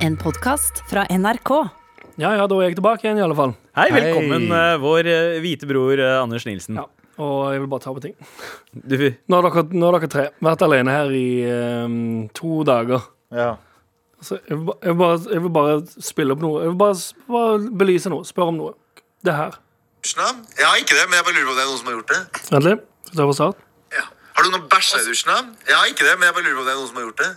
En podkast fra NRK. Ja, ja, da er jeg tilbake igjen, i alle fall. Hei, velkommen, eh, vår eh, hvite bror eh, Anders Nilsen. Ja, og jeg vil bare ta på ting. Du, Nå har dere, nå har dere tre vært alene her i eh, to dager. Ja. Så jeg, vil ba, jeg, vil bare, jeg vil bare spille opp noe. Jeg vil bare, s- bare belyse noe. Spørre om noe. Det her. dusjen? da? Jeg har ikke det, men jeg bare lurer på om det er noen som har gjort det. Vent litt. Skal vi ta fra start? Ja. Har du noen bæsja i dusjen? da? Jeg har ikke det, men jeg bare lurer på om det er noen som har gjort det.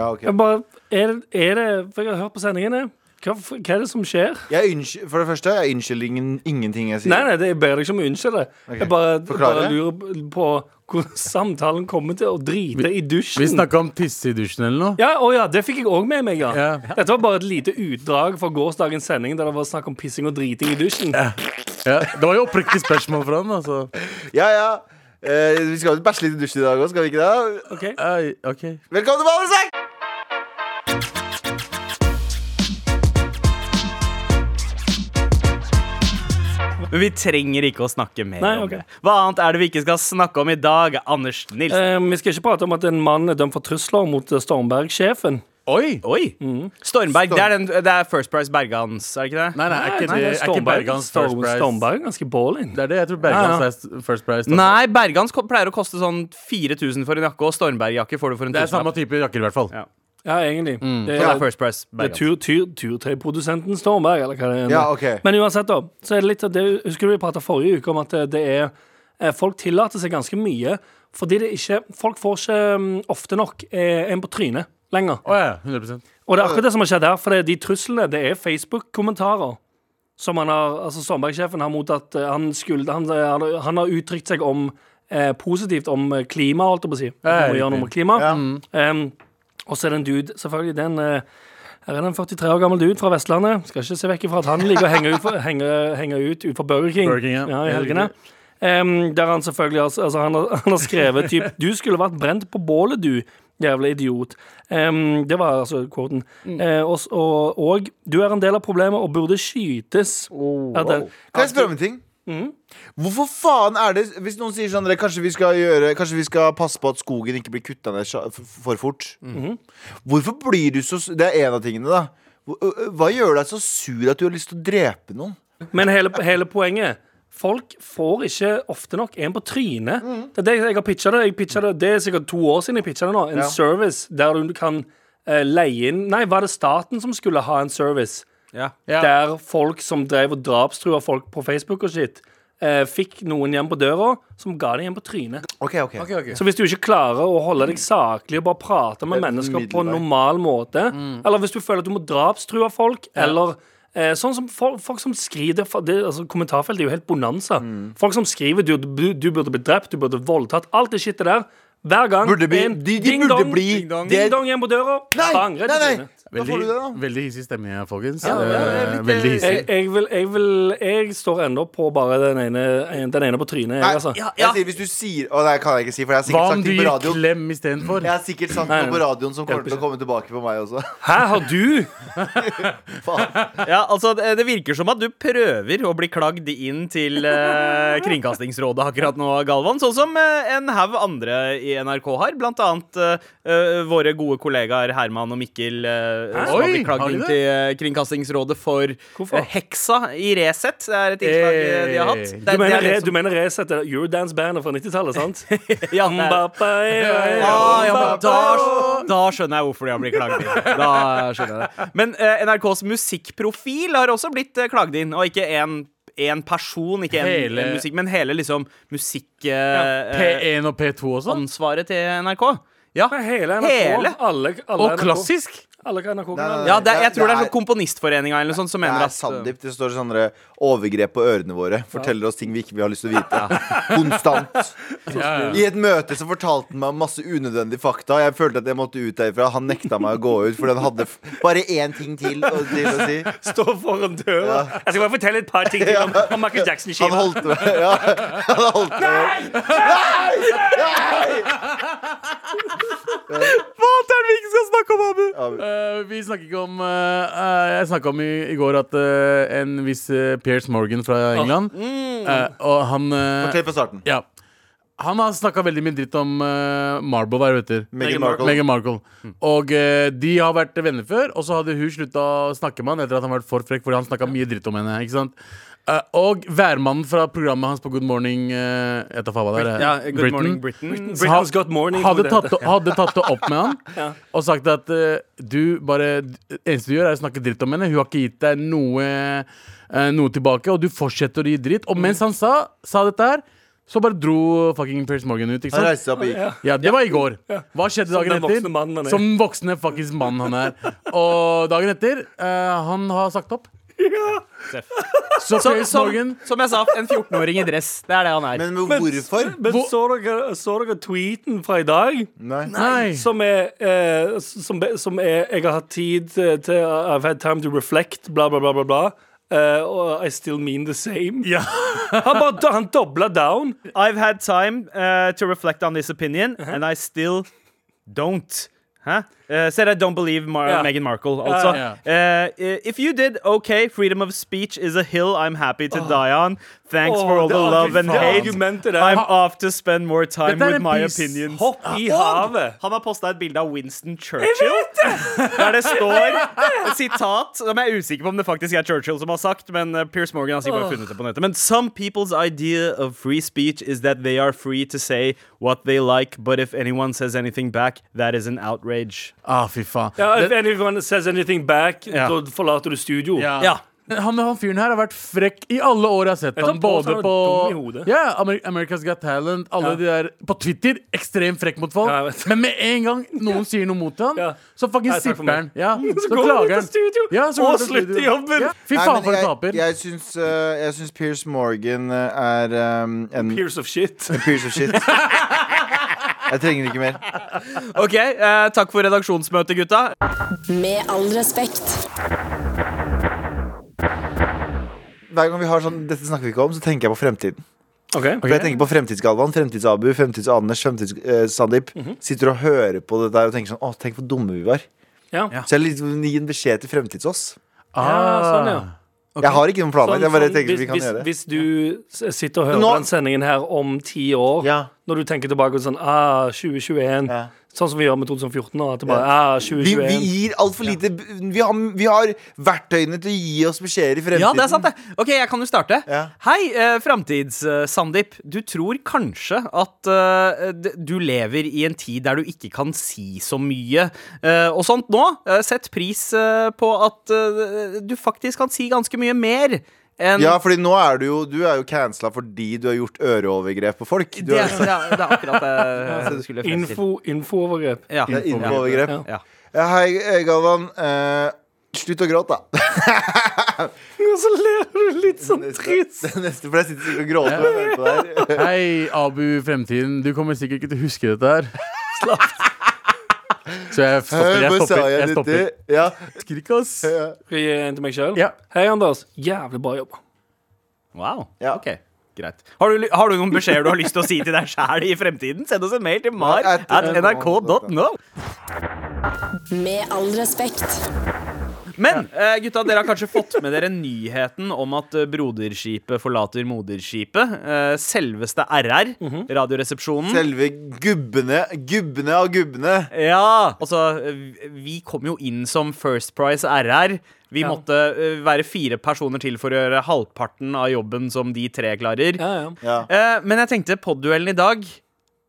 ja, ok. Jeg bare, er, det- er det For jeg har hørt på sendingene. Hva, f- hva er det som skjer? Jeg unnskyld, for det første, jeg unnskylder ingen, ingenting jeg sier. Nei, nei, det, jeg ber deg ikke om å unnskylde. Jeg bare, Forklare. bare lurer på hvordan samtalen kommer til å drite i dusjen. Vi snakka om tisse i dusjen eller noe. Ja, å ja, det fikk jeg òg med meg. ja Ja. Dette var bare et lite utdrag fra gårsdagens sending der det var snakk om pissing og driting i dusjen. Ja. Det var jo oppriktig spørsmål fra han. Altså. Ja, ja. Eh, vi skal jo bæsje litt i dusjen i dag òg, skal vi ikke det? Ok, Ei, ok. Velkommen til Ballesekk! men vi trenger ikke å snakke mer Nei, om ok. det. Hva annet er det vi ikke skal snakke om i dag, Anders Nilsen? Eh, Vi skal ikke prate om at en mann er dømt for trusler mot eh, Stormberg-sjefen. Eh, Oi! Oi! Mm. Stormberg. Det, er den, det er First Price Bergans, er det ikke det? Nei, nei, er ikke, det, er ikke Stormberg Bergans Storm- first prize? Stormberg er ganske ballin. Det er det. Jeg tror Bergans Ja, ja. er s- first altså. prize. da. Nei, Bergans ko- pleier å koste sånn 4000 for en jakke, og Stormberg-jakke får du for en Det er samme tusenlapp. type jakker, i hvert fall. Ja. Ja, egentlig. Mm. Det Så det er er, First Price det er Bergans. tur, tur, turtøyprodusenten Stormberg, eller hva det er. Ja, ok. Men uansett, da. Så er det litt av det, Husker du vi prata forrige uke om at eh, det er eh, Folk tillater seg ganske mye fordi det ikke Folk får ikke mm, ofte nok eh, en på trynet lenger. Å ja, 100 Og det er akkurat det som har skjedd her, for det er de truslene, det er Facebook-kommentarer. Som han har, altså Stormberg-sjefen har mottatt eh, han, skuld, han, eh, han har uttrykt seg om eh, positivt om eh, klima, holdt jeg på å si. Ja, Om å gjøre noe med klima. Mm. Ja. Em, og så er det en dude, selvfølgelig. Det er en, eh, her er det en 43 år gammel dude fra Vestlandet. Skal ikke se vekk ifra at han ligger og henger ut, for, henger, henger ut utenfor Burger King, Burger King, ja. i helgene. Em, der han selvfølgelig har, altså, han har, han har skrevet typ Du skulle vært brent på bålet, du. Jævla idiot. Em, det var altså quoten. Eh, og, s- og, og du er en del av problemet og burde skytes. Er det- Kan jeg spørre om en ting? Hvorfor faen er det Hvis noen sier sånn kanskje vi, skal gjøre, kanskje vi skal passe på at skogen ikke blir kutta ned sja- f- for fort. Mm. Hvorfor blir du så s- Det er en av tingene, da. Hva- Hva gjør deg så sur at du har lyst til å drepe noen? Men hele, hele poenget Folk får ikke ofte nok en på trynet. Det er det jeg har pitcha det. Jeg pitchet det. Det er sikkert to år siden jeg pitcha det nå. En Ja. service der du kan eh, leie inn Nei, var det staten som skulle ha en service? Ja. Ja. Der folk som drev og drapstrua folk på Facebook og shit, eh, fikk noen hjem på døra som ga dem hjem på trynet. Ok, ok, Så hvis du ikke klarer å holde deg saklig og bare prate med Det er mennesker på en middelvei. Mm. normal måte, eller hvis du føler at du må drapstrue folk, eller eh, sånn som folk, folk som skriver det, det, altså Kommentarfeltet er jo helt bonanza. Mm. Folk som skriver du, du, du burde blitt drept, du burde voldtatt, alt det shitet der. Hver gang Burde bli- en de- de burde bli- ding-dong det- ding dong hjem på døra. Nei, bang, rett i nei, nei. trynet. Da får Veldig, du det, da. veldig hissig stemme, ja, folkens. ja, Eh, litt, veldig eh, hissig. Jeg, jeg, vil, jeg, vil, jeg står ennå på bare den ene, en- den ene på trynet. Jeg, Nei, altså. ja. Jeg sier, hvis du sier Å, nei, kan jeg ikke si, for jeg har Hva sikkert om sagt du det på gir radioen. klem istedenfor? Jeg har sikkert sagt Nei, noe på nei. radioen som kommer Hjelper til å komme tilbake på meg også. Hæ, har du? Faen. Ja, altså Det det virker som at du prøver å bli klagd inn til eh, Kringkastingsrådet akkurat nå, Galvan. Sånn som eh, en haug andre i NRK har. Blant annet eh, eh, våre gode kollegaer Herman og Mikkel eh, som har Oi, blitt har klagd de inn det? til eh, Kringkastingsrådet for Hvorfor? eh, Heksa i Resett. Det er et innslag eh, de har hatt. Hey. Det, Du mener, det er re, liksom- du mener Resett er Eurodance-bandet fra 90-tallet, sant? Ja, det er- Mbappa, ja, ja. Ah, ja, men da, da skjønner jeg hvorfor de har blitt klagd inn. Da skjønner jeg det Men eh, NRKs musikkprofil har også blitt eh, klagd inn, og ikke én en person, ikke en, Hele- en musikk, men hele liksom musikkansvaret P1 og P2 og sånn? til NRK. Ja, Men Hele NRK. Hele. Alle, alle Og NRK. klassisk! Alle Nei, NRK-kanaler. nei, ja det, er- jeg Det er- tror det er det sånn Komponistforeninga eller noe sånt som Det mener er at eh, Sandeep. Det står sånne overgrep på ørene våre. Forteller oss ting vi ikke har lyst til å vite. Konstant. Ja, ja. I et møte så fortalte han meg masse unødvendige fakta. Jeg følte at jeg måtte ut derfra. Han nekta meg å gå ut, for han hadde f bare én ting til å, til å si. Står foran døra. Jeg skal bare fortelle et par ting til om, om Michael Han Jackson-skiva. holdt meg ja, Han holdt meg Hva er det vi ikke skal snakke om, Abu? Abu. vi snakker ikke om eh, eh, Jeg snakka om i, i går at eh, en Ah, mm. viss eh, Piers Morgan fra England eh, Og han eh, Fortell fra starten. Ja Han har snakka veldig mye dritt om eh, Marble, hva er det hun heter? Meghan Markle. Meghan Markle. Mm. Og eh, de har vært venner før, og så hadde hun slutta å snakke med han etter at han var for frekk, fordi han snakka mye dritt om henne. ikke sant? Eh, og værmannen fra programmet hans på Good Morning eh, jeg tar faen hva det er, Ja, eh, Good Morning Britain. så Britain's Got Morning, tror Hadde jeg tatt, det det- hadde tatt det opp med han og sagt at eh, du bare Det eneste du gjør, er å snakke dritt om henne. Hun har ikke gitt deg noe, eh, noe tilbake, og du fortsetter å gi dritt. Og mens han sa, sa dette her, så bare dro fucking Pierce Morgan ut. ikke Han sant? reiste seg opp og gikk. Ja, det var i går. Hva skjedde Som dagen den voksne mannen han etter? er. Som den voksne fuckings mann han er. Og dagen etter eh, Han har sagt opp. Så Som, Pierce som, Morgan som jeg sa, en 14-åring i dress. Det er det han er. Men hvorfor? Men Hvor- så dere, så dere tweeten fra i dag? Nei. Nei. Som er, eh, som, som er Jeg har hatt tid til til- eh, I've had time to reflect, bla, bla, bla, bla. bla. Eh, og I still mean the same. Ja. Han bare han dobla down. I've had time uh, to reflect on this opinion, and I still don't. Hæ? Uh, said I don't believe Mar Ja. Meghan Markle, altså. ja. Uh, if you did, okay, freedom of speech is a hill I'm happy to die on. Thanks for Åh, all det the er love and faen. hate. Argumentet der. I'm off to spend more time Dette er with en my piece. opinions. Hopp i havet. Han har posta et bilde av Winston Churchill. Der det står et sitat som jeg er usikker på om det faktisk er Churchill som har sagt. Men eh, Piers Morgan har sikkert bare funnet det på nettet. Men some people's idea of free speech is that they are free to say what they like, but if anyone says anything back, that is an outrage. Ah, fy faen. Ja, Det- if anyone says anything back, Ja. så forlater du studio. Ja. Men Han, han fyren her har vært frekk i alle år jeg har sett Jeg tar han. på at Både han er på dum i hodet. ja, Amer America's Got Talent, alle de der På Twitter, ekstremt frekk mot folk. Ja, jeg vet. Men med en gang noen sier noe mot han, Ja. så Nei, fuckings takk for sipper han. meg. Ja, Så så går han ut av klager han. studio. Ja, så går Og han ut av studio. slutter jobben. Ja, fy Nei, faen, men for en jeg, taper. jeg, syns, eh, jeg syns Pierce Morgan eh, er um, en Peers of shit. Pierce of shit. Jeg trenger ikke mer. OK, eh, takk for redaksjonsmøtet, gutta. Med all respekt. Hver gang vi har sånn Dette snakker vi ikke om, så tenker jeg på fremtiden. Ok. For jeg tenker på fremtidsgalvan, fremtidsabu, fremtids-Anders, fremtids-Sandeep. Mhm. Sitter og hører på det der og tenker sånn Å, tenk hvor dumme vi var. Ja. sånn, Så jeg liksom gir en beskjed til fremtids-oss. Ah. Ja, sånn, ja. Jeg har ikke noen planlagt. Jeg bare Sånn- tenker hvis, vi kan hvis, gjøre det. hvis du s- sitter og hører Nå- på den sendingen her om ti år, Ja. når du tenker tilbake og sånn ah, 2021, Ja. sånn som vi gjør med 2014 nå, at det bare ah, Vi, 2021 vi gir altfor lite vi har, vi har verktøyene til å gi oss beskjeder i fremtiden. Ja, det er sant, det. Ok, jeg kan jo starte. Ja. Hei, uh, framtids-Sandeep. du tror kanskje at eh, d- du lever i en tid der du ikke kan si så mye eh, og sånt nå. Eh, sett pris eh, på at eh, du faktisk kan si ganske mye mer enn Ja, fordi nå er du jo Du er jo cancela fordi du har gjort øreovergrep på folk. Du det, har, liksom- ja, det er akkurat det eh, du skulle frem til. Info, infoovergrep. Ja. det er infoovergrep. Ja. Ja. Ja, hei, eh, Galvan. Eh, slutt å gråte, da. Og så ler du litt sånn trist. Neste, for jeg sitter sikkert og gråter. når jeg hører på det her. Hei, Abu Fremtiden. Du kommer sikkert ikke til å huske dette her. Så jeg stopper. Jeg Hva Eh, sa stopper. Jeg jeg stopper. dette? Ja. Skrik, ass. Skal jeg gi en til meg sjøl? Ja. Hei, Anders. Jævlig bra jobba. Wow. Ja. Ok. Greit. Har du, har du noen beskjeder du har lyst til å si til deg sjæl i fremtiden? Send oss en mail til mar at- at nrk.no. Med all respekt. Men eh, gutta, dere har kanskje fått med dere nyheten om at eh, broderskipet forlater moderskipet. Eh, selveste RR, Mhm. Radioresepsjonen. Selve gubbene, gubbene av gubbene. ja, altså eh, Vi kom jo inn som First Price RR. Vi Ja. måtte eh, være fire personer til for å gjøre halvparten av jobben som de tre klarer. Ja, ja. Ja. Eh, men jeg tenkte podduellen i dag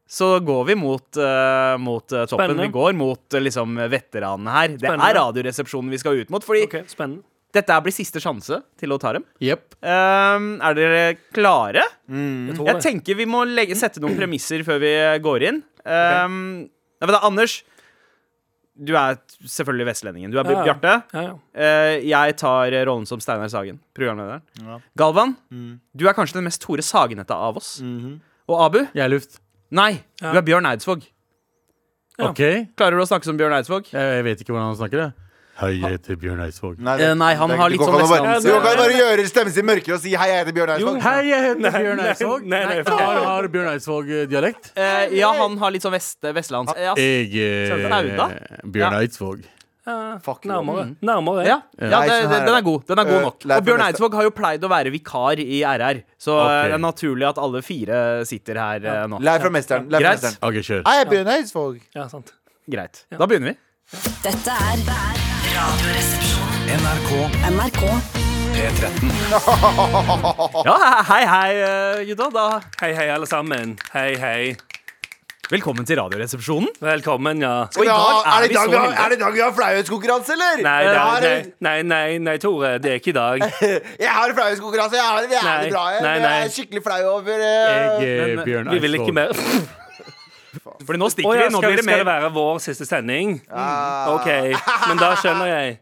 så går vi mot, eh, mot eh, toppen. Spennende. Vi går mot eh, liksom veteranene her. Det Spennende. er Radioresepsjonen vi skal ut mot, fordi OK, spennende. dette her blir siste sjanse til å ta dem. Jepp. Ehm, er dere klare? Jeg Jeg tror det. tenker vi må legge, sette noen premisser før vi går inn. Ehm, nei, men da, Anders, du er selvfølgelig vestlendingen. Du er Ja, ja. Bjarte. Ja, ja. Eh, jeg tar rollen som Steinar Sagen, programlederen. Galvan, du er kanskje den mest Tore Sagenete av oss. Og Abu? Jeg er luft. Nei, du er Bjørn Eidsvåg. Ja. OK? Jeg, Klarer du å snakke som Bjørn Eidsvåg? Eh, jeg vet ikke hvordan han snakker, jeg. Hei, jeg heter Bjørn Eidsvåg. Nei, Eh, nei, han det er har ikke- litt du kan sånn ikke bare- vestlands- Du kan ikke bare gjøre stemmen sin mørkere og si 'hei, jeg heter Bjørn Eidsvåg'. Hei, jeg heter Bjørn nei, Eidsvåg. nei, nei, for- har, har Bjørn eh, Eidsvåg-dialekt? Eh, ja, han har litt sånn vest, vestlands... Ja, Jeg Sauda? er Bjørn Ja. Eidsvåg. eh, Fuck you. Mm. nærmere. nærmere. Ja, ja det, Nei, sånn det, her- den er god. Den er Eh, god nok. Leif, Og Bjørn neste- Eidsvåg har jo pleid å være vikar i RR, så Ok. det er naturlig at alle fire sitter her eh, nå. Leif fra Mesteren. Leif fra Greit. mesteren. OK, kjør. Jeg er Bjørn Eidsvåg. Ja, sant. Greit. Da begynner vi. Dette er Radioresepsjonen. NRK. Ja, hei, hei, eh, gutta. Da Hei, hei, alle sammen. Hei, hei. Velkommen til Radioresepsjonen. Velkommen, ja. Skal vi i dag ha- er Er det vi i dag så vi har- heldige. er det i dag vi har flauhetskonkurranse, eller? Nei, Jeg nei, har- nei, nei, nei, nei, Tore. Det er ikke i dag. Jeg har flauhetskonkurranse. Jeg har det Nei, jævlig bra. Jeg, nei, jeg nei. er skikkelig flau over eh, Jeg er Bjørn Vi vil ikke Eidsvåg. mer. Fordi nå Å stikker ja, vi. Nå skal, blir det skal det mer være vår siste sending? ah. OK, men da skjønner jeg.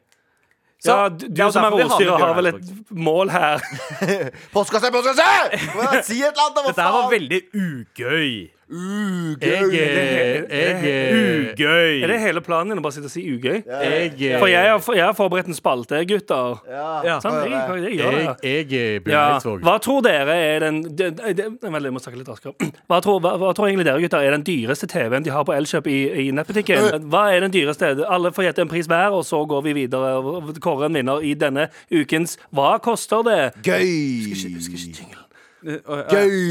Så, ja, du, det du er jo som er derfor vi har med ordstyrer, har vel Bjørn et mål her. Postkasse, postkasse! Hva- Si et eller annet, da! Hva Dette her var faen? veldig ugøy. Jeg eh, er Jeg Ugøy. Er det hele planen din å bare sitte og si ugøy? er Jeg For jeg har, for- jeg har forberedt en spalte, gutter. Ja. Sant? Jeg, jeg, gjør det. Jeg, jeg er Bjørn Ja. Eidsvåg. Hva tror dere er den de, de, de, Vel, jeg må snakke litt raskere. Hva tror, hva, hva tror egentlig dere gutter er den dyreste TV-en de har på Elkjøp i, i nettbutikken? Hva er den dyreste? Alle får gjette en pris hver, og så går vi videre og kårer en vinner i denne ukens Hva koster det? Gøy. Husker ikke jinglen. Gøy.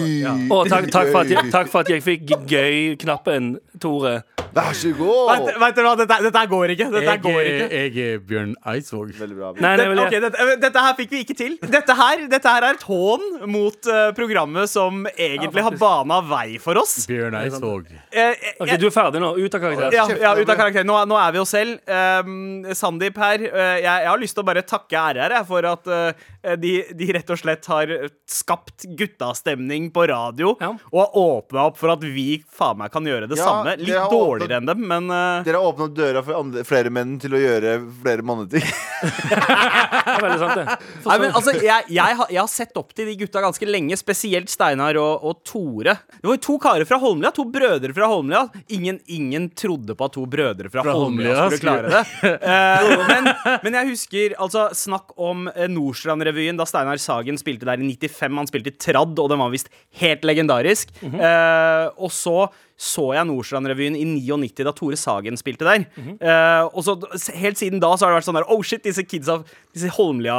Å, takk, takk, for at jeg, takk for at jeg fikk gøy-knappen, Tore. Vær så god. Vet, vet dere hva, dette, dette her går ikke. Dette her Jeg, går er- ikke. jeg er Bjørn Eidsvåg. Veldig bra. Nei, Det, nei, vel, ok, jeg, dette, eh, dette her fikk vi ikke til. Dette her, dette her er et hån mot eh, programmet som egentlig har faktisk. bana vei for oss. Bjørn Eidsvåg. Eh, eh, OK, du er ferdig nå. Ut av karakter. ja, ja, ut av karakter. Nå, er- nå er vi oss selv. Um, Sandeep her. eh, jeg, jeg har lyst til å bare takke RR jeg, for at eh, de, de rett og slett har skapt guttastemning på radio. Ja. Og har åpna opp for at vi faen meg kan gjøre det Ja, samme. det Litt har åpnet- dårligere enn dem, men eh, Dere har åpna døra for andre, flere menn til å gjøre flere manneting. Det er veldig sant, det. Nei, men altså, jeg, jeg, har, jeg har sett opp til de gutta ganske lenge, spesielt Steinar og, og Tore. Det var jo to karer fra Holmlia, to brødre fra Holmlia. Ingen, ingen trodde på at to brødre fra, Holmlia, Holmlia skulle klare det. Eh, men, men jeg husker altså, snakk om eh, Nordstrand-revyen da Steinar Sagen spilte der i 95. Han spilte tradd, og den var visst helt legendarisk. Mhm. Eh, og så så jeg Nordstrand-revyen i 99 da Tore Sagen spilte der. Mhm. Eh, og så d- s- Helt siden da så har det vært sånn der Oh shit, disse kidsa, disse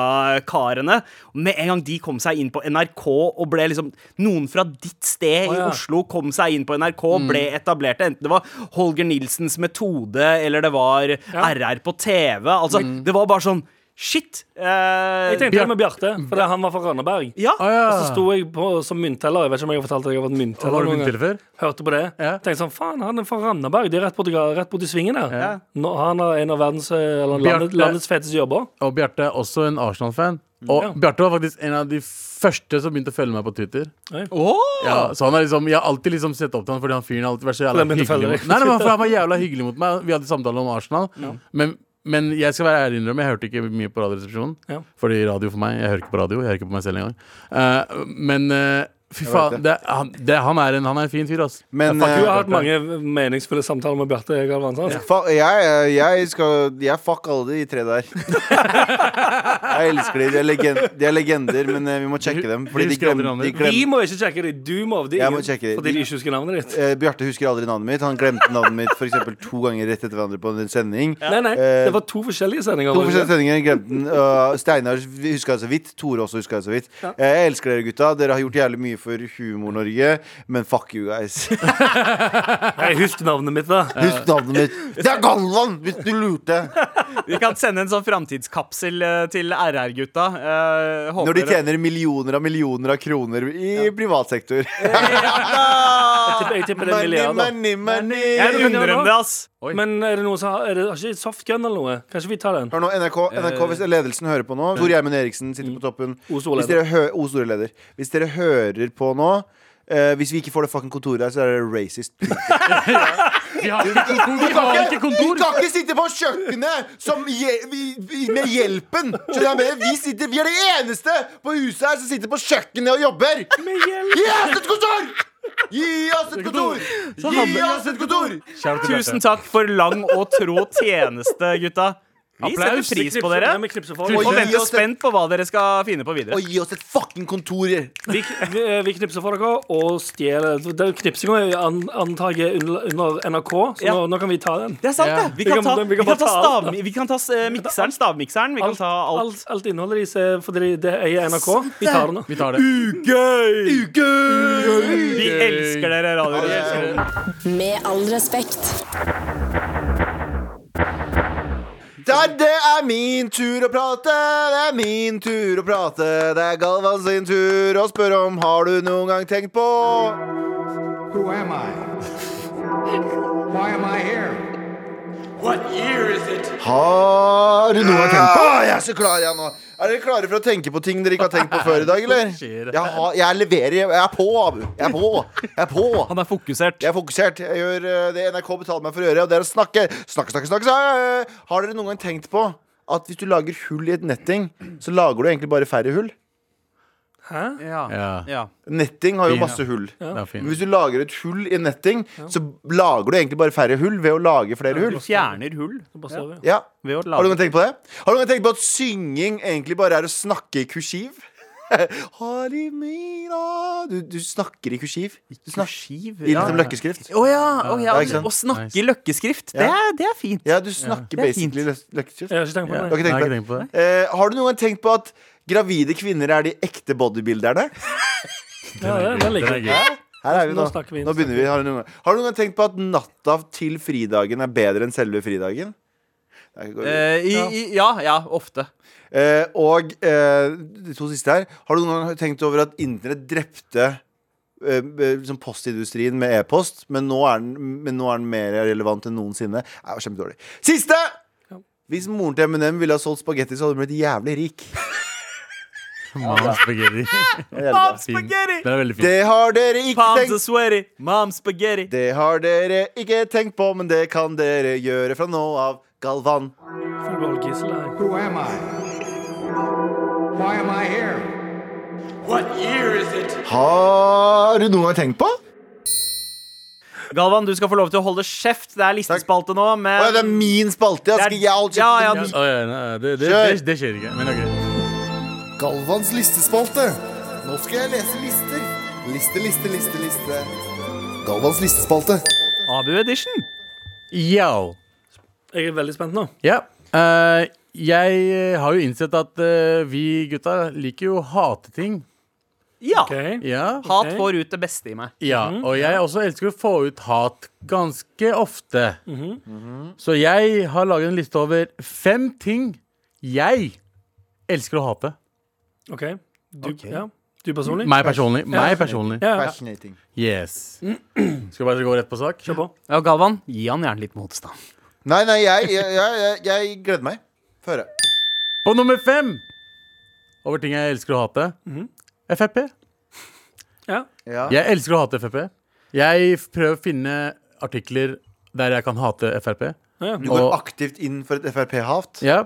Holmlia-karene. Med en gang de kom seg inn på NRK og ble liksom Noen fra ditt sted Å, i ja. Oslo kom seg inn på NRK og ble etablerte. Enten det var Holger Nilsens metode, eller det var RR på TV. Altså, det var bare sånn Shit! Eh, Jeg tenkte det med Bjarte, for det, han var fra Randaberg. ja. Å ja. Og så sto jeg på, som myntteller. Jeg vet ikke om jeg har fortalt at jeg har vært Har myntteller du noen begynt gang. til før? Hørte på det. Ja. Tenkte sånn, faen, han er fra Randaberg. Det er rett borti rett borti svingen der. Ja. Nå, han er en av verdens, eh, eller landet, Bjarte- landets feteste jobber. Og Bjarte er også en Arsenal-fan. Mm. Og Ja. Bjarte var faktisk en av de første som begynte å følge meg på Twitter. Åh! Ja, så han er liksom, Jeg har alltid liksom sett opp til han fordi han fyren har alltid vært så jævla han begynte å hyggelig. følge Mot. deg. Nei, nei, men for Han var jævla hyggelig mot meg. Vi hadde samtale om Arsenal. Men, men jeg skal være ærlig innrømme, jeg hørte ikke mye på Radioresepsjonen. Ja. Fordi radio for meg Jeg hører ikke på radio. Jeg hører ikke på meg selv engang. Eh, men eh, fy faen, det, er- han, det, er- han, er en, han er en fin fyr, ass. Men Du har eh, hatt mange meningsfulle samtaler med Bjarte Galvan. sant? fa- jeg, jeg skal Jeg fuck alle de tre der. Jeg elsker de. De er, legen, de er legender, men eh, vi må sjekke dem. Fordi Vi de husker aldri glemmer, de navnet. Vi glem, må ikke sjekke det. Du må. Det er Jeg må ingen- sjekke det. Fordi de ikke husker navnet ditt. eh, Bjarte husker aldri navnet mitt. Han glemte navnet mitt for eksempel to ganger rett etter hverandre på en sending. Nei, nei, Eh, det var to forskjellige sendinger. To var det ikke? forskjellige sendinger glemte den. og Steinar huska det så vidt. Tore også huska det så vidt. Eh, Jeg elsker dere, gutta. Dere har gjort jævlig mye for Humor-Norge, men fuck you guys. Nei, Husk navnet mitt, da. Husk navnet mitt. Det er Galvan, hvis du lurte! Vi kan sende en sånn framtidskapsel eh, til RR-gutta. Eh, håper Når de dere- tjener millioner av millioner av kroner i privat sektor. Jeg tipper- Jeg tipper det er en money, milliard. da. money, money. Jeg Ja, men det undrer var om det, bra. ass. Men er det noen som har, er det, har ikke softgun eller noe? Kanskje vi tar den? Hør nå, NRK, NRK hvis ledelsen hører på nå Tor Gjermund Eriksen sitter på toppen. O store Hvis dere, hø o store leder. Hvis dere hører på nå eh, Hvis vi ikke får det fucking kontoret her, så er det racist. Vi har ikke kontor! Vi har ikke Vi kontor. kan ikke sitte på kjøkkenet som je, vi, vi, med hjelpen! Skjønner du hva jeg mener? Vi, sitter, vi er de eneste på huset her som sitter på kjøkkenet og jobber! Gi oss et kontor! Gi oss et kontor! Gi oss et kontor! Shout out til Bjarte. Tusen takk for lang og tro tjeneste, gutta. Vi Applaus. setter pris Vi knipser- på dere. Ja, vi knipser folk. Oi, Og gi venter oss jo spent på hva dere skal finne på videre. Og gi oss et fucking kontor! Vi, vi, eh, vi knipser for dere og stjeler Knipsinga er an, antaget under, under NRK, så Ja. nå, nå kan vi ta den. Det er sant, Ja. det! Vi Vi kan- kan ta, vi kan vi kan bare ta, ta alt, stav, vi kan ta eh, mikseren, stavmikseren. Vi kan ta alt. alt, alt innholdet deres er fordi det er NRK. Vi tar det nå. Vi tar det. Ugøy! Vi elsker dere, Ja, radioresepsjonen. Med all respekt. Der, det er min tur å prate, det er min tur å prate. Det er Galvan sin tur å spørre om har du noen gang tenkt på Who am I? Why am I here? Har du noen gang tenkt på Jeg er så klar, jeg nå. Er dere klare for å tenke på ting dere ikke har tenkt på før i dag, eller? Skjer. Jeg, har, jeg leverer. Jeg er på, Abu. Jeg er på. Jeg er på. Han er fokusert. Jeg er fokusert. Jeg gjør eh, det NRK betaler meg for å gjøre, og det er å snakke. Snakke, snakke, snakke. snakke. Har dere noen gang tenkt på at hvis du lager hull i et netting, så lager du egentlig bare færre hull? Ja. Ja, Ja. Netting har jo Ja. masse hull. det er Men fint. hvis du lager et hull i netting, så lager du egentlig bare færre hull ved å lage flere Du hull. fjerner hull Bare står vi. Ja. ved å Har du lage noen tenkt på det? Har du noen tenkt på at synging egentlig bare er å snakke i kursiv? Halimina Du, du snakker i kursiv. Du snakker kursiv. i litt Ja. som løkkeskrift. Å ja, å ja. Ja, ikke sant? Å snakke Nice. i løkkeskrift, det, Ja. er, det er fint. Ja, du Ja, snakker det er fint. basically løs- løkkeskrift. Jeg har ikke tenkt på Du det. har ikke Jeg har ikke tenkt på det? tenkt på det. Eh, har du noen gang tenkt på at gravide kvinner er de ekte bodybuilderne? Ja, den, den liker jeg. Her er vi nå. Nå snakker vi. Nå begynner vi. Har du, noen gang. har du noen gang tenkt på at natta til fridagen er bedre enn selve fridagen? Det går- Eh, i, i, ja, ja, ofte. Eh, og eh, de to siste her. Har du noen gang tenkt over at internett drepte eh, eh, liksom postindustrien med e-post, men, nå er den- men nå er den mer relevant enn noensinne? Det var kjempedårlig. Siste! Hvis moren til M&M ville ha solgt spagetti, så hadde hun blitt jævlig rik. Mom's spaghetti. Det er jævlig bra. Fin. Spaghetti! Den er veldig fin. Det har dere ikke Palms are tenkt sweaty, mom spaghetti. Det har dere ikke tenkt på, men det kan dere gjøre fra nå av. Galvan. Full behold gissel her. Who am I? Why am I here? Har du noen gang tenkt på? Galvan, du skal få lov til å holde kjeft. Det er listespalte nå, Å, ja, det er men min spalte! Jeg skal Det er- gi alt Ja, ja, kjeften. Å, ja, nei, det, det, Kjør! det, det skjer ikke. Men ok. Galvans listespalte. Nå skal jeg lese lister. Liste, liste, liste, liste. Galvans listespalte. Abu-edition. Yo. Jeg er veldig spent nå. Ja. eh, jeg eh, har jo innsett at eh, vi gutta liker jo å hate ting. Ja. Ok. Ja. Hat Ok. får ut det beste i meg. ja. Mhm. Og jeg også elsker å få ut hat ganske ofte. Mhm. Så jeg har laget en liste over fem ting jeg elsker å hate. OK. Du, Ja. du personlig? Meg personlig. Meg personlig. Ja, ja. Fascinating. Yes. Skal vi bare gå rett på sak? Kjør på. Ja, Galvan, gi han gjerne litt motstand. Nei, nei, jeg, jeg, jeg, jeg gleder meg. Få høre. På nummer fem over ting jeg elsker å hate. Mhm. Frp. Ja. Ja. Jeg elsker å hate Frp. Jeg f- prøver å finne artikler der jeg kan hate Frp. Ja, Du ja. går Og- aktivt inn for et Frp-hat? Ja.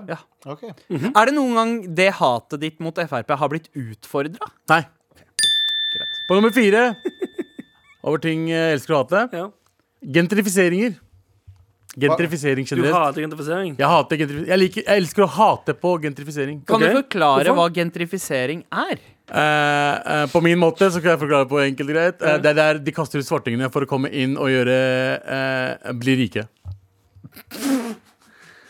Ok. Er det noen gang det hatet ditt mot Frp har blitt utfordra? Nei. På nummer fire over ting jeg elsker å hate. ja. Gentrifiseringer. Gentrifisering Du generelt. hater identifisering? Jeg, hater gentrifisering. Jeg, liker, jeg elsker å hate på gentrifisering. Kan Ok. du forklare Hvorfor? hva gentrifisering er? Eh, eh, på min måte så kan jeg forklare på enkelt og greit. Eh, det er der de kaster ut svartingene for å komme inn og gjøre eh, bli rike.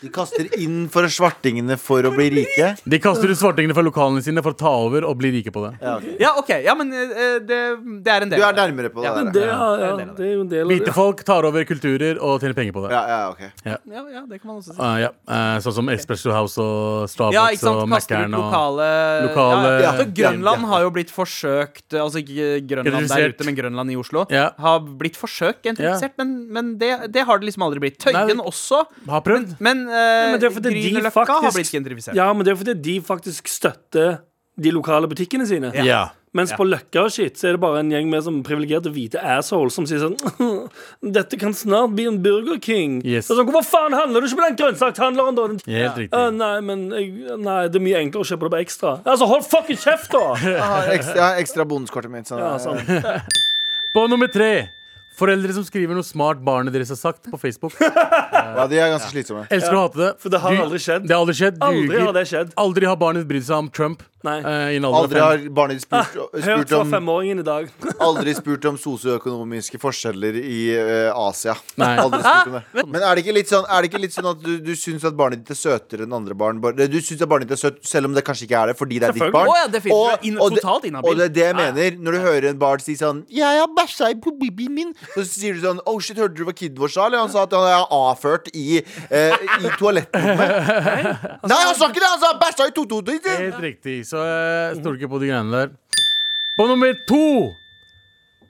De kaster inn for svartingene for å bli rike. De kaster ut svartingene fra lokalene sine for å ta over og bli rike på det. Ja, ok. Ja, OK. Ja, men eh, det, det er en Du del. er nærmere på det. Men der. det, ja, ja, det er jo en del av Hvite det. folk tar over kulturer og tjener penger på det. Ja, ja, ok. Ja, ja, det kan man også si. Eh, ja. Eh, sånn som Espresso House og Ja, ikke sant? Starbucks Kaster ut og Mac-eren. Og... lokale, Lokale- ja, altså, Ja, Grønland ja. har jo blitt forsøkt Altså ikke Grønland der Gentrifisert. ute, men Grønland i Oslo. Ja. Har blitt forsøkt gentrifisert, men, men det, det har det liksom aldri blitt. Tøyen Nei. også, Har prøvd. men, uh, men det er fordi de Grünerløkka har faktisk- blitt gentrifisert. Ja, men det er fordi de faktisk støtter de lokale butikkene sine. Ja. Mens på Løkka og shit, så er det bare en gjeng med sånn privilegerte hvite assholes som sier sånn Dette kan snart bli en Burger King. Yes. Det er sånn, Hvorfor faen handler du ikke på den grønnsakshandleren, da? Den Helt riktig. «Å, Eh, nei, men jeg, nei, det er mye enklere å kjøpe det på Ekstra. Altså, hold fucking kjeft, da! Jeg har ekstra, jeg har ekstra bonuskortet mitt. Ah. Sånn. Ja, sånn. På nummer tre Foreldre som skriver noe smart barnet deres har sagt på Facebook. Ja, de er ganske slitsomme. Elsker å hate det. For det har Du- aldri skjedd. Det har aldri skjedd. Aldri Duger. har det skjedd. Aldri har barnet brydd seg om Trump. Nei. eh, i en alder Aldri av fem. har barnet ditt spurt, Hørt spurt fra om femåringen i dag. Aldri spurt om sosioøkonomiske forskjeller i eh, Asia. Nei. Aldri spurt om det. Men er det ikke litt sånn, er det ikke litt sånn at du, du syns at barnet ditt er søtere enn andre barn? Bare- Du syns at barnet ditt er søtt, selv om det kanskje ikke er det, fordi det er ditt Selvfølgelig. barn? Å ja, definitivt. Du er inn- og, det, totalt inhabil. og det er det jeg mener. Når du hører en barn si sånn 'Jeg har bæsja i på bibien min', så sier du sånn 'Oh shit, hørte du hva kiden vår sa?' Eller han sa at han er avført i, eh, i toalettrommet. Nei, han sa ikke det! Han sa 'bæsja i tototissen'! Helt riktig. Så eh, jeg stoler ikke på de greiene der. Mhm. På nummer to!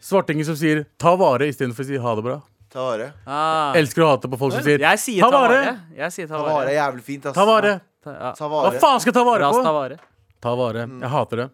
Svartinger som sier 'ta vare' istedenfor å si 'ha det bra'. Ta vare. Ah. Elsker å hate på folk som sier Jeg sier ta vare. Jeg sier Ta vare er jævlig fint, ass. Ta vare. Ta- ja. Ta Hva vare. faen skal jeg ta vare Ras ta på? vare. Ta vare. Mm. Jeg hater det.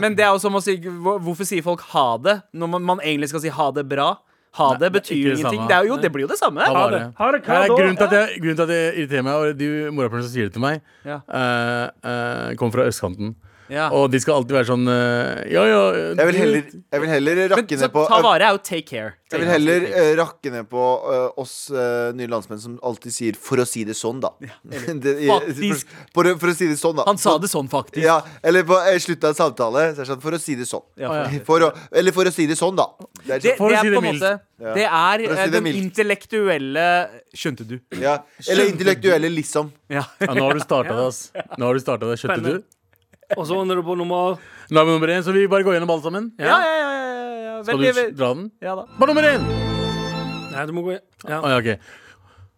Men det er jo som å si hvor- Hvorfor sier folk ha det når man, man egentlig skal si ha det bra? Ha det det er betyr ikke det ingenting. samme. Det, er jo, det blir jo det samme. Ha Ta vare. det. Ha det, hva Her er da? grunnen til at jeg, grunnen til at jeg irriterer meg, og de morapulerne som sier det til meg, Ja. eh, eh, kommer fra østkanten. Ja. Og de skal alltid være sånn eh, Ja, ja eh, Jeg vil heller, jeg vil heller Men rakke så, ned på ta vare er jo take care. Jeg vil heller eh, rakke ned på eh, oss eh, nye landsmenn som alltid sier 'for å si det sånn', da. det, i- Faktisk. For, for, å- for å si det sånn, da. Han sa det sånn, faktisk. Ja, eller på eh, slutten av en samtale. Så er det sånn, for å si det sånn. Ja, for- For å, eller for å si det sånn, da. Det er Det, sånn, For å det si er det på en måte Det er For å si eh, det den mildt. intellektuelle Skjønte du? sånn, ja. Eller intellektuelle, liksom. Ja. Ja, nå har du starta det, ass. Nå har du startet det, Skjønte du? Spennende. Og så er du på nummer Nå er vi nummer én, så vi bare går gjennom alle sammen. Ja, ja, ja, ja, ja. Skal Veldig- du dra den? ja da. På nummer én! Nei, du må gå i- ja. Å, ja, ok.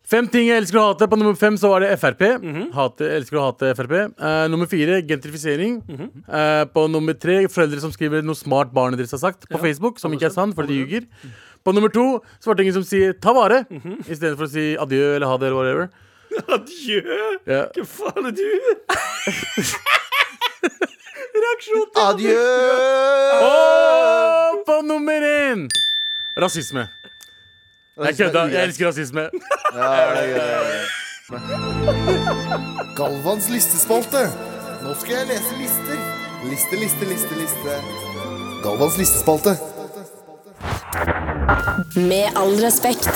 Fem ting jeg elsker å hate. På nummer fem så var det Frp. Mhm. hate, elsker å hate Frp. Eh, nummer fire gentrifisering. Mhm. Eh, på nummer tre foreldre som skriver noe smart barnet deres har sagt på Facebook, som ikke er sant, fordi de ljuger. På nummer to svartinger som sier 'ta vare' Mhm. istedenfor å si adjø eller ha det eller whatever. Adjø! Ja. Hva faen er du? Adjø! Og på nummer én rasisme. Jeg kødda. Jeg elsker rasisme. Ja, det er gøy. Galvans listespalte. Nå skal jeg lese lister. Liste, liste, liste, liste. Galvans listespalte. Med all respekt.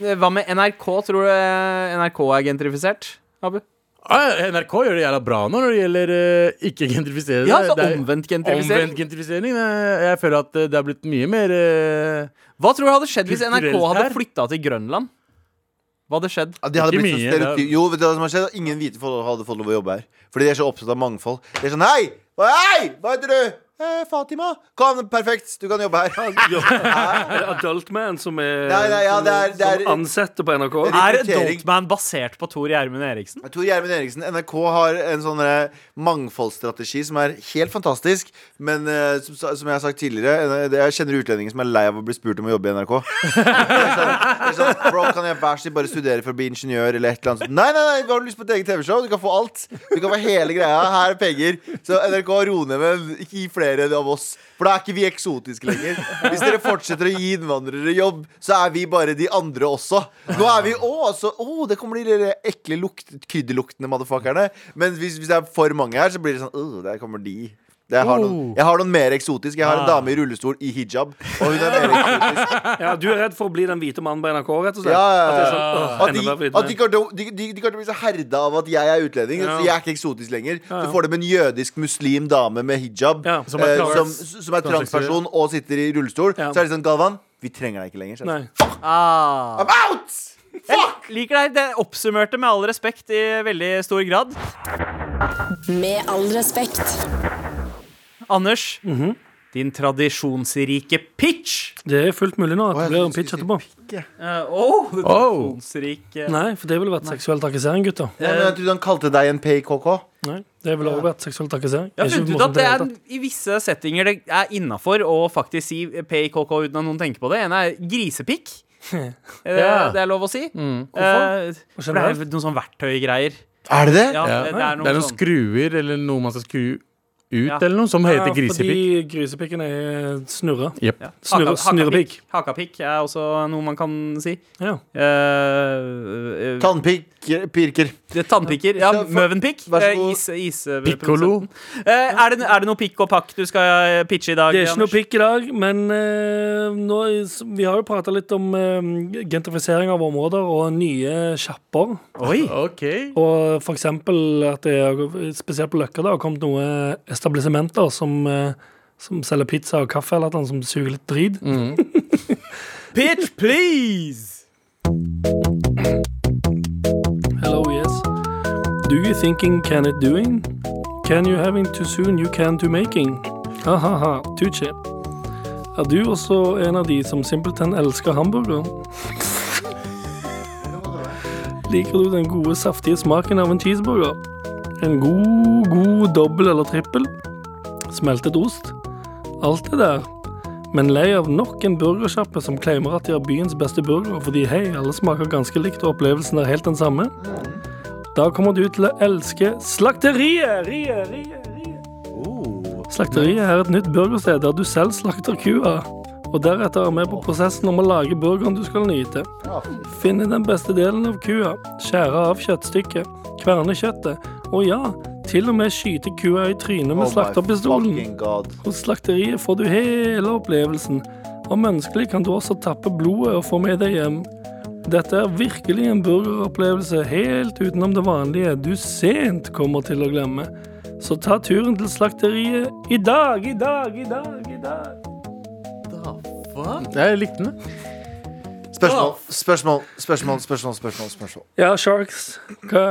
Eh, Hva med NRK? Tror du eh, NRK er gentrifisert? Abu? Ah, ja, NRK gjør det jævla bra nå når det gjelder eh, ikke gentrifisering. Ja, altså Det er- omvendt gentrifisering. Omvendt gentrifisering. eh, Jeg føler at eh, det har blitt mye mer eh, Hva tror du hadde skjedd hvis NRK Kulturelt hadde her. flytta til Grønland? Hva hadde skjedd? Ja, de hadde Ikke blitt så mye, det er- stereotyp Jo, vet du hva som har skjedd? Ingen hvite folk hadde fått lov å jobbe her. Fordi de er så opptatt av mangfold. De er sånn Hei! Hei! Hva heter du? Eh, Fatima. Kom, perfekt. Du kan jobbe her. Er det Adult Man som er, Nei, nei, ja, det er- det er- som ansetter på NRK? Nei. Er Rekruttering. Adultman basert på Tor Gjermund Eriksen? Tor Gjermund Eriksen, NRK har en sånn eh, mangfoldsstrategi som er helt fantastisk. Men eh, som, sa- som jeg har sagt tidligere, eh, det- jeg kjenner utlendinger som er lei av å bli spurt om å jobbe i NRK. Det er sånn, det er sånn, Bro, kan jeg vær så snill bare studere for å bli ingeniør eller et eller annet? sånt? Nei, nei, nei, har du lyst på et eget TV-show? Du kan få alt. Du kan få hele greia. Her er penger. Så NRK, ro ned, men ikke gi flere av oss. For da er ikke vi eksotiske lenger. Hvis dere fortsetter å gi innvandrere jobb, så er vi bare de andre også. Nå er vi òg, så Å, det kommer de der ekle lukt, krydderluktende motherfuckerne. Men hvis, hvis det er for mange her, så blir det sånn Åh, der kommer de. Det- Jeg har, noen, jeg har noen mer eksotisk. Jeg har en dame i rullestol i hijab. Og hun er mer eksotisk. Ja, du er redd for å bli den hvite mannen på NRK, rett og slett? Ja, ja, At ja. det er sånn, «Åh, At de, enda mer hvit at de, mann». kommer til å- de, de, de kommer til å bli så herda av at jeg er utlending. Ja. Så jeg er ikke eksotisk lenger. Så får de en jødisk muslim dame med hijab Ja. Som er eh, trans. som, som er transperson og sitter i rullestol. Ja. Så er det sånn, Galvan, vi trenger deg ikke lenger. Så er det Nei. Ah. sånn, I'm out! Jeg liker deg. Det oppsummerte med all respekt i veldig stor grad. Med all respekt. Anders, Mhm. din tradisjonsrike pitch. Det er fullt mulig nå at det blir en pitch etterpå. Uh, oh, det Oh. tradisjonsrike Nei, for det ville vært seksuell trakassering, gutter. Ja, men jeg trodde han kalte deg en PKK. Nei, det ville også vært seksuell trakassering. Jeg har Det er funnet ikke ut at morsomt i det det er hele tatt. i visse settinger det er innafor å faktisk si PKK uten at noen tenker på det. En er grisepikk. Er det, Ja. det er lov å si. Hvorfor? Hva Eh, for det er skjer jo noen sånn verktøygreier. Er det det? Ja, Ja. Det er noe Det er noen sånn. skruer eller noe man skal skru ut, Ja. eller noe, som heter Ja, grisepikk. Fordi grisepikken er snurra. Jep. Snurre- Haka- snurrepikk. hakapikk. Hakapikk er også noe man kan si. Ja. Eh, eh, Tannpirker. det- Tannpikker. Eh, Ja, Så for- Møvenpikk. Vær så eh, god. Is, is, eh, Piccolo. produsenten. Eh, er, det, er det noe pikk og pakk du skal eh, pitche i dag? Det er ikke noe Anders? pikk i dag, men eh, nå, er- s- vi har jo prata litt om eh, gentrifisering av områder og nye sjapper. Oi. OK. Og for eksempel at det er, spesielt på Løkka da, har kommet noen etablissementer som, eh, som selger pizza og kaffe eller noe som suger litt drit. Pitch, please! Hello, yes. Do you thinking can it doing? Can you having too soon you can to making? Ha-ha-ha, too cheap. Er du også en av de som simpelthen elsker hamburger? Liker du den gode, saftige smaken av en cheeseburger? En god, god dobbel eller trippel? Smeltet ost? Alt det der. Men lei av nok en burgersjappe som claimer at de har byens beste burger fordi hei, alle smaker ganske likt og opplevelsen er helt den samme? Da kommer du til å elske Slakteriet! Rie, rie, rie. Slakteriet er et nytt burgersted der du selv slakter kua. Og deretter er med på prosessen om å lage burgeren du skal nyte. Finne den beste delen av kua, skjære av kjøttstykket, kverne kjøttet, og ja, til og med skyte kua i trynet med slakterpistolen. Oh fucking god. Hos slakteriet får du hele opplevelsen. Om ønskelig kan du også tappe blodet og få med deg hjem. Dette er virkelig en burgeropplevelse helt utenom det vanlige du sent kommer til å glemme. Så ta turen til slakteriet i dag, i dag, i dag, i dag. Jeg likte den. Spørsmål, spørsmål, spørsmål, spørsmål. spørsmål, spørsmål. Ja, Sharks. Hva,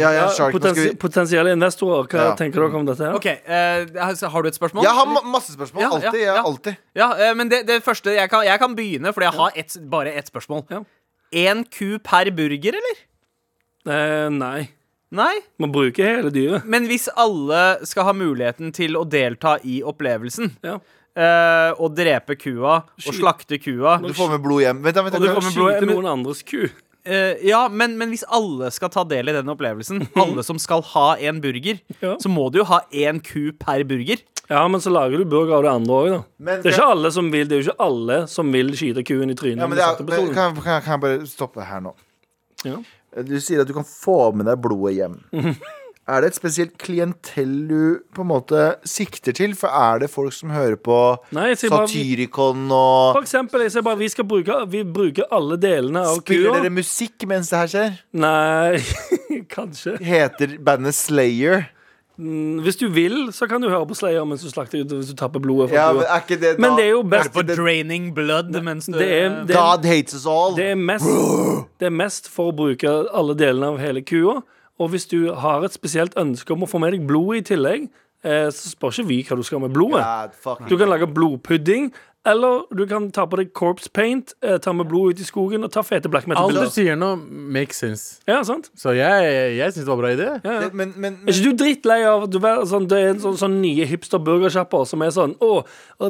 Ja, ja, Shark, nå skal potensi vi... Potensielle investorer, hva Ja. tenker dere om dette? her? OK. eh, har du et spørsmål? Jeg har ma masse spørsmål. Ja, ja, Alltid. jeg, ja. alltid. Ja, eh, men det, det første jeg kan, jeg kan begynne, fordi jeg har ett- bare ett spørsmål. Ja. Én ku per burger, eller? Eh, nei. Nei? Man bruker hele dyret. Men hvis alle skal ha muligheten til å delta i opplevelsen, Ja. eh, og drepe kua og slakte kua Du får med blod hjem. Vent, da, vent, da, Og du vent da. får med blod- Skyte men- noen andres ku. eh, Ja, men, men hvis alle skal ta del i den opplevelsen, alle som skal ha en burger, Ja. så må du jo ha én ku per burger. Ja, men så lager du burger av det andre òg, da. Men- det, er ikke alle som vil, det er jo ikke alle som vil skyte kuen i trynet. Ja, men med det er, men, settepistolen. kan, jeg- kan, jeg- kan jeg bare stoppe her nå? Ja. Du sier at du kan få med deg blodet hjem. Er det et spesielt klientell du på en måte sikter til? For er det folk som hører på Nei, jeg sier bare- Satyricon og For eksempel, jeg ser bare, vi skal bruke vi bruker alle delene av Spiller kua. dere musikk mens det her skjer? Nei, kanskje. Heter bandet Slayer? Mm, Hvis du vil, så kan du høre på Slayer mens du slakter ut hvis du tapper blodet fra Ja, men kua. er ikke det da Men det eh, er jo best For draining blood mens du Det er, det er, God hates us all. det er, mest, det er mest for å bruke alle delene av hele kua. Og hvis du har et spesielt ønske om å få med deg blodet i tillegg, eh, så spør ikke vi hva du skal med blodet. God fucking- Du kan lage blodpudding, eller du kan ta på deg corpse paint, eh, ta med blod ut i skogen og ta fete black Alt du metal-bilder. sier nå, makes sense. Ja, sant? Så jeg, jeg syns det var en bra idé. Det- Men, men, Er ikke du drittlei av at du er sånn, det er en sånn, sånn nye hipster-burgersjapper som er sånn Å,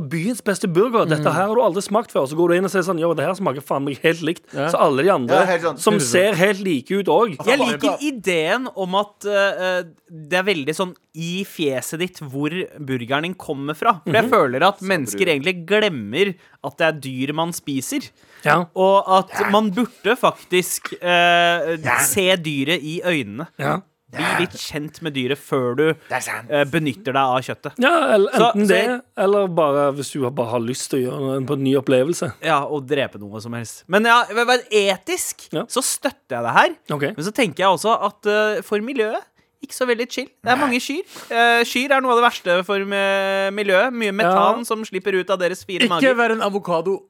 byens beste burger, Mm. dette her har du aldri smakt før. Så går du inn og sier sånn Yo, det her smaker faen meg helt likt. Så alle de andre Ja, helt sånn. som ser helt like ut òg. Jeg liker ideen om at eh, eh, det er veldig sånn i fjeset ditt hvor burgeren din kommer fra. For jeg føler at mennesker egentlig glemmer at det er dyr man spiser. Ja. Og at man burde faktisk eh, se dyret i øynene. Ja. Bli litt kjent med dyret før du eh, benytter deg av kjøttet. ja, eller Så- enten så det, jeg- eller bare hvis du bare har lyst til å gjøre en, på en ny opplevelse. Ja, Og drepe noe som helst. Men ja, vet du hva, etisk Ja. så støtter jeg det her. Ok. Men så tenker jeg også at eh, for miljøet ikke så veldig chill. Det er mange kyr. Eh, kyr er noe av det verste for eh, miljøet. Mye metan Ja. som slipper ut av deres fire Ikke mager. vær en avokado.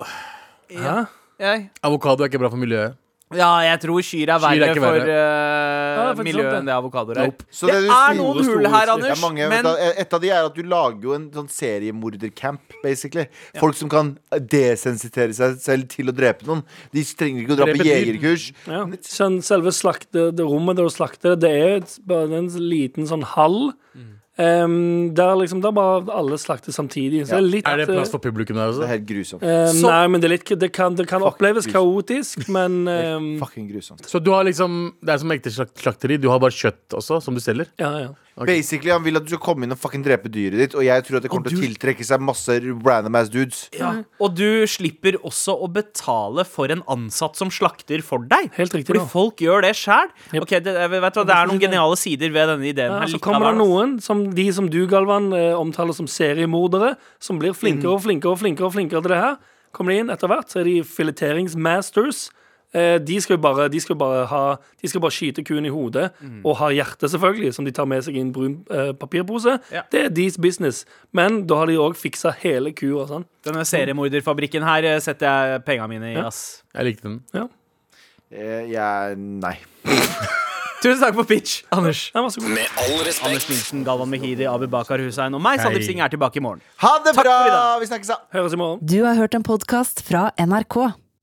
Hæ? Jeg- Avokado er ikke bra for miljøet. Ja, jeg tror kyr er Kyr verre er ikke for verre. eh, Ja, det er faktisk miljøet sant, det. enn det avokadoer er. Nope. Så det, det er det er store, noen store hull her, Det Anders, er mange, vet men du, et av de er at du lager jo en sånn seriemordercamp, basically. Folk som kan desensitere seg selv til å drepe noen. De trenger ikke å dra Drepe på dyr. jegerkurs. Ja. Sånn, selve slakte, det rommet der du slakter, det er et- bare en liten sånn hall. Mm. em, der liksom der bare alle slakter samtidig. Så det er litt Er det plass eh, for publikum der Det er også? helt grusomt. eh, Så- Nei, men det, er litt, det kan, det kan oppleves Jesus. kaotisk, men em, Ehm, Fucking grusomt. Så du har liksom, Det er som ekte slak- slakteri. Du har bare kjøtt også, som du selger. ja, ja. Basically, Han vil at du skal komme inn og fucking drepe dyret ditt, og jeg tror at det kommer til å tiltrekke seg masse random ass dudes. Og du slipper også å betale for en ansatt som slakter for deg. Helt riktig, Fordi da. folk gjør det sjæl. Yep. det, jeg vet hva, det er noen geniale sider ved denne ideen. Ja, her. så Litt kommer av det hvert. noen, som de som du, Galvan, eh, omtaler som seriemordere, som blir flinkere Mm. og flinkere og flinkere og flinkere til det her. Kommer de inn etter hvert, så er de fileteringsmasters. Eh, De skal jo bare, de skal bare, ha, de skal bare skyte kuen i hodet Mm. og ha hjertet, selvfølgelig, som de tar med seg i en brun eh, papirpose. Ja. Det er deres business. Men da har de òg fiksa hele kua. Sånn. Denne seriemorderfabrikken her eh, setter jeg penga mine i, ass. Jeg likte den. Ja. Eh, jeg Nei. Tusen takk for pitch, Anders. Ja, vær så god. Anders Nilsen, Galvan Mehidi, Abu Bakar Hussein og meg, Sandeep Singh, er tilbake i morgen. Ha det Takk for i bra! dag. Vi snakkes, da. Høres i morgen. Du har hørt en podkast fra NRK.